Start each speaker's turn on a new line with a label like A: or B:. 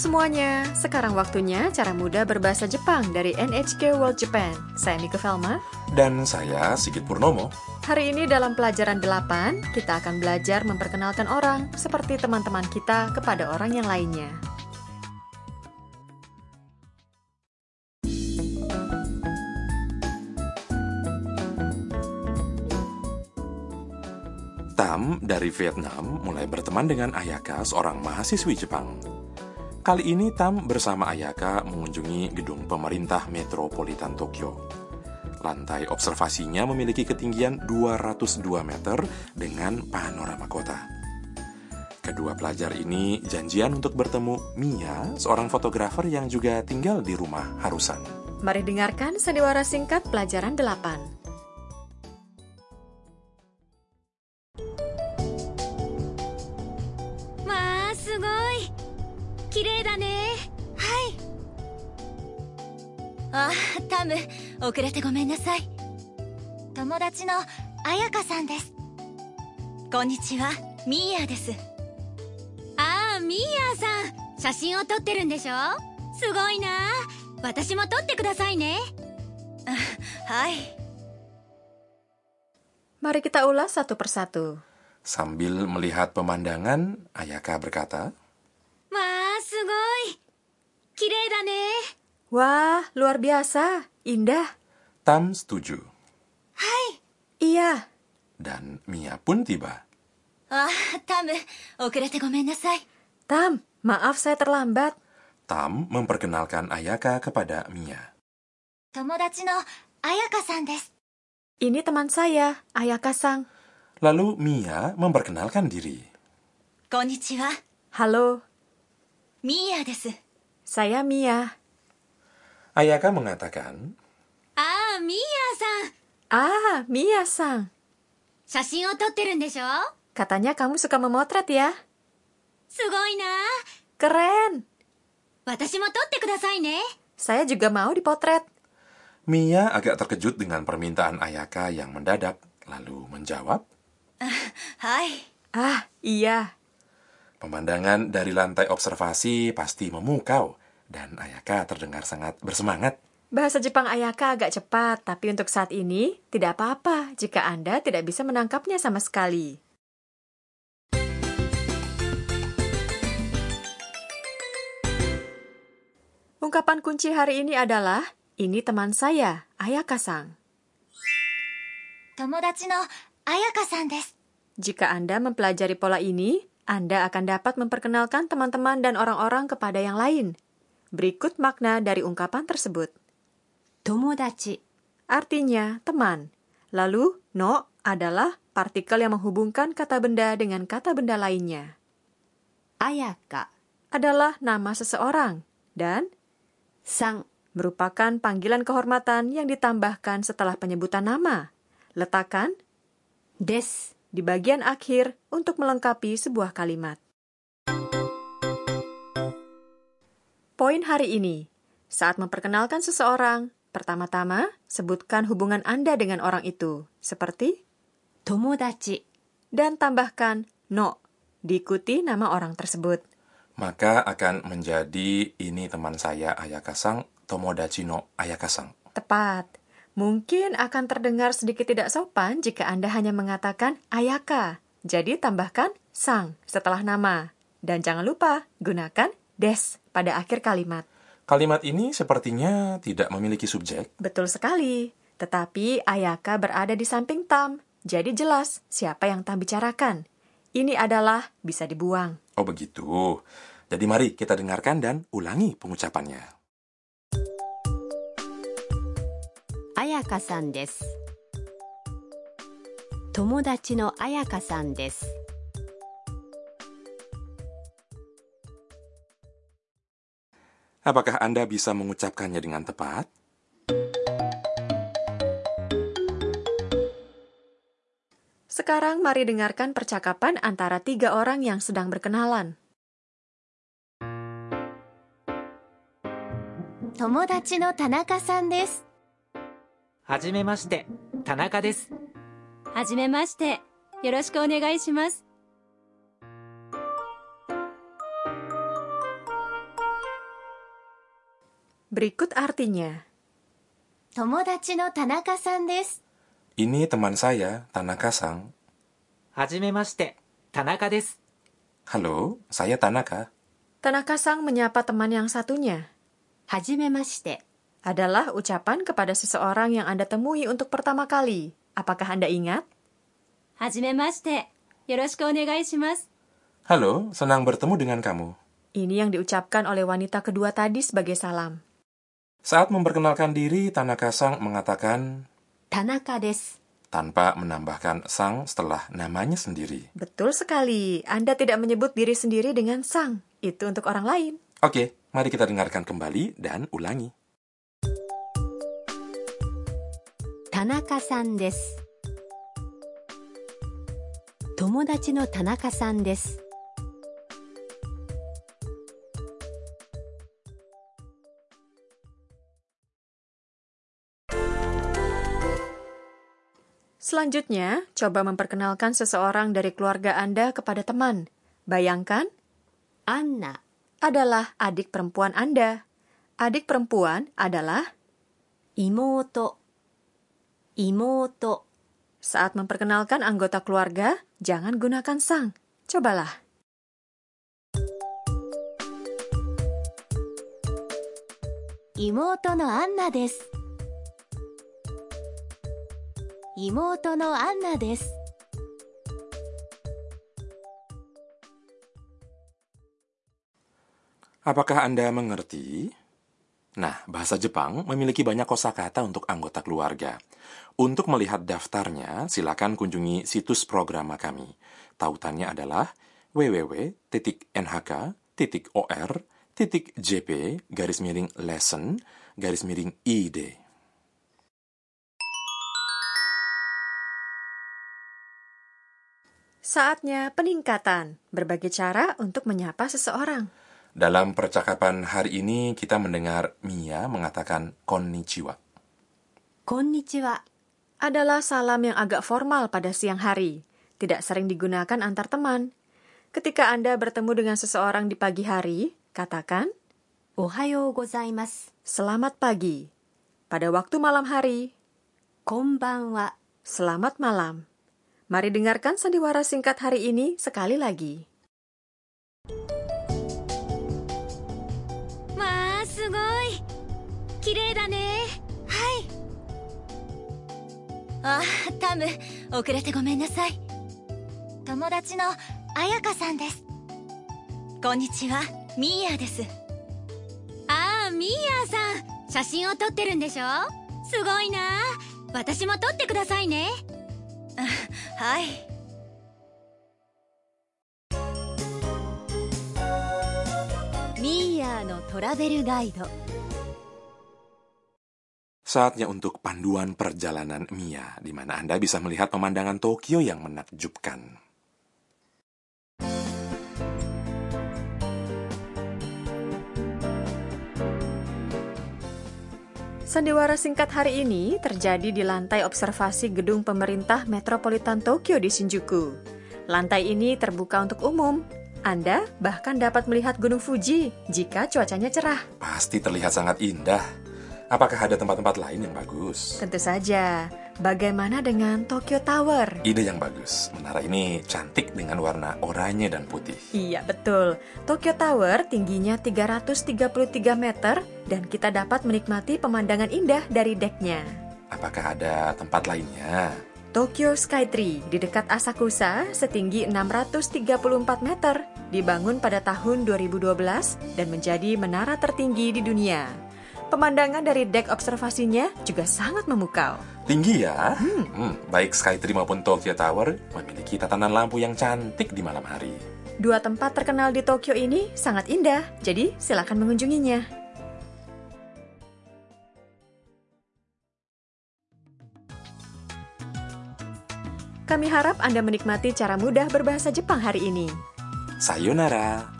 A: semuanya, sekarang waktunya cara mudah berbahasa Jepang dari NHK World Japan. Saya Mika Velma.
B: Dan saya Sigit Purnomo.
A: Hari ini dalam pelajaran 8, kita akan belajar memperkenalkan orang seperti teman-teman kita kepada orang yang lainnya.
B: Tam dari Vietnam mulai berteman dengan Ayaka, seorang mahasiswi Jepang. Kali ini Tam bersama Ayaka mengunjungi gedung pemerintah metropolitan Tokyo. Lantai observasinya memiliki ketinggian 202 meter dengan panorama kota. Kedua pelajar ini janjian untuk bertemu Mia, seorang fotografer yang juga tinggal di rumah Harusan.
A: Mari dengarkan sandiwara singkat pelajaran 8.
C: まあすごい綺麗だねはいあタム遅れてごめんなさい友達の彩香さんですこんにちはミーヤですああミーヤさん写真を撮ってるんでしょすごいな私も撮ってくださいねはい
A: Mari kita ulas satu persatu.
B: Sambil melihat pemandangan, Ayaka berkata,
C: まあすごい綺麗だね
A: Wah, luar biasa, indah.
B: Tam setuju.
C: はい
A: Iya,
B: Dan Mia pun tiba.
C: あタム遅れてごめんなさい
A: Tam, maaf saya terlambat.
B: Tam memperkenalkan Ayaka kepada Mia.
C: 友達の彩香さんです
A: Ini teman saya, Ayaka Sang.
B: Lalu Mia memperkenalkan diri.
C: こんにちは
A: Halo,
C: ミーヤです
A: saya Mia.
B: Ayaka mengatakan,
C: ああミーヤさん
A: Ah, Mia Sang.
C: 写真を撮ってるんでしょ
A: Katanya kamu suka memotret ya?
C: すごいな
A: Keren.
C: 私も撮ってくださいね
A: Saya juga mau dipotret.
B: Mia agak terkejut dengan permintaan Ayaka yang mendadak, lalu menjawab,
C: はい
A: Ah, iya.
B: pemandangan dari lantai observasi pasti memukau, dan Ayaka terdengar sangat bersemangat.
A: Bahasa Jepang Ayaka agak cepat, tapi untuk saat ini tidak apa-apa jika Anda tidak bisa menangkapnya sama sekali. Ungkapan kunci hari ini adalah ini teman saya, Ayaka-sang.
C: 友達の彩香さんです
A: Jika Anda mempelajari pola ini, Anda akan dapat memperkenalkan teman-teman dan orang-orang kepada yang lain. Berikut makna dari ungkapan tersebut.
C: 友達
A: Artinya teman. Lalu, no adalah partikel yang menghubungkan kata benda dengan kata benda lainnya.
C: 彩香
A: Adalah nama seseorang dan
C: さん
A: merupakan panggilan kehormatan yang ditambahkan setelah penyebutan nama. Letakkan
C: です
A: di bagian akhir untuk melengkapi sebuah kalimat. Poin hari ini, saat memperkenalkan seseorang, pertama-tama sebutkan hubungan Anda dengan orang itu, seperti
C: 友達
A: dan tambahkan no, diikuti nama orang tersebut.
B: Maka akan menjadi ini teman saya Ayaka-sang, Tomodachi no Ayaka-sang.
A: Tepat. Mungkin akan terdengar sedikit tidak sopan jika Anda hanya mengatakan Ayaka. Jadi tambahkan sang setelah nama. Dan jangan lupa gunakan des pada akhir kalimat.
B: Kalimat ini sepertinya tidak memiliki subjek.
A: Betul sekali. Tetapi Ayaka berada di samping Tam. Jadi jelas siapa yang Tam bicarakan. Ini adalah bisa dibuang.
B: Oh begitu. Jadi mari kita dengarkan dan ulangi pengucapannya.
D: 彩香さんです友達の彩香さんです
B: Apakah Anda bisa mengucapkannya dengan tepat?
A: Sekarang mari dengarkan percakapan antara tiga orang yang sedang berkenalan.
C: 友達の田中さんです
E: はじめまして、田中です。
C: はじめましてよろしくお願いします
A: Berikut artinya.
C: 友達の田中さんです
B: Ini teman saya, Tanaka-sang.
E: はじめまして田中です
B: Halo, saya Tanaka.
A: Tanaka-sang menyapa teman yang satunya
D: はじめまして。
A: adalah ucapan kepada seseorang yang Anda temui untuk pertama kali. Apakah Anda ingat?
C: はじめましてよろしくお願いします
B: Halo, senang bertemu dengan kamu.
A: Ini yang diucapkan oleh wanita kedua tadi sebagai salam.
B: Saat memperkenalkan diri, Tanaka-sang mengatakan
D: 田中です。
B: tanpa menambahkan sang setelah namanya sendiri.
A: Betul sekali, Anda tidak menyebut diri sendiri dengan sang. Itu untuk orang lain.
B: Oke, mari kita dengarkan kembali dan ulangi.
D: 田中さんです。友達の田中さんです。
A: Selanjutnya, coba memperkenalkan seseorang dari keluarga Anda kepada teman. Bayangkan,
D: アンナ、
A: adalah adik perempuan Anda. Adik perempuan adalah
D: 妹、妹、
A: saat memperkenalkan anggota keluarga, jangan gunakan sang. Cobalah.
C: 妹のアンナです妹のアンナです
B: Apakah Anda mengerti? Nah, bahasa Jepang memiliki banyak kosakata untuk anggota keluarga. Untuk melihat daftarnya, silakan kunjungi situs programa kami. Tautannya adalah www.nhk.or.jp garis miring lesson garis miring id.
A: Saatnya peningkatan, berbagai cara untuk menyapa seseorang.
B: Dalam percakapan hari ini, kita mendengar Mia mengatakan konnichiwa.
D: こんにちは。
A: Adalah salam yang agak formal pada siang hari, tidak sering digunakan antar teman. Ketika Anda bertemu dengan seseorang di pagi hari, katakan
D: おはようございます。
A: selamat pagi. Pada waktu malam hari,
D: こんばんは。
A: Selamat malam. Mari dengarkan sandiwara singkat hari ini sekali lagi.
C: わあすごい綺麗だねはいあタム遅れてごめんなさい友達の彩香さんですこんにちはミーヤですああミーヤさん写真を撮ってるんでしょすごいな私も撮ってくださいねはいミーヤのトラベルガイド
B: Saatnya untuk panduan perjalanan Mia, di mana Anda bisa melihat pemandangan Tokyo yang menakjubkan.
A: Sandiwara singkat hari ini terjadi di lantai observasi gedung pemerintah metropolitan Tokyo di Shinjuku. Lantai ini terbuka untuk umum. Anda bahkan dapat melihat Gunung Fuji jika cuacanya cerah.
B: Pasti terlihat sangat indah. Apakah ada tempat-tempat lain yang bagus?
A: Tentu saja. Bagaimana dengan Tokyo Tower?
B: Ide yang bagus. Menara ini cantik dengan warna oranye dan putih.
A: Iya, betul. Tokyo Tower tingginya 333 meter dan kita dapat menikmati pemandangan indah dari deknya.
B: Apakah ada tempat lainnya?
A: Tokyo Skytree di dekat Asakusa setinggi 634 meter, dibangun pada tahun 2012 dan menjadi menara tertinggi di dunia. Pemandangan dari dek observasinya juga sangat memukau.
B: Tinggi ya? Hmm, baik Skytree maupun Tokyo Tower memiliki tatanan lampu yang cantik di malam hari.
A: Dua tempat terkenal di Tokyo ini sangat indah, jadi silakan mengunjunginya. Kami harap Anda menikmati cara mudah berbahasa Jepang hari ini.
B: Sayonara!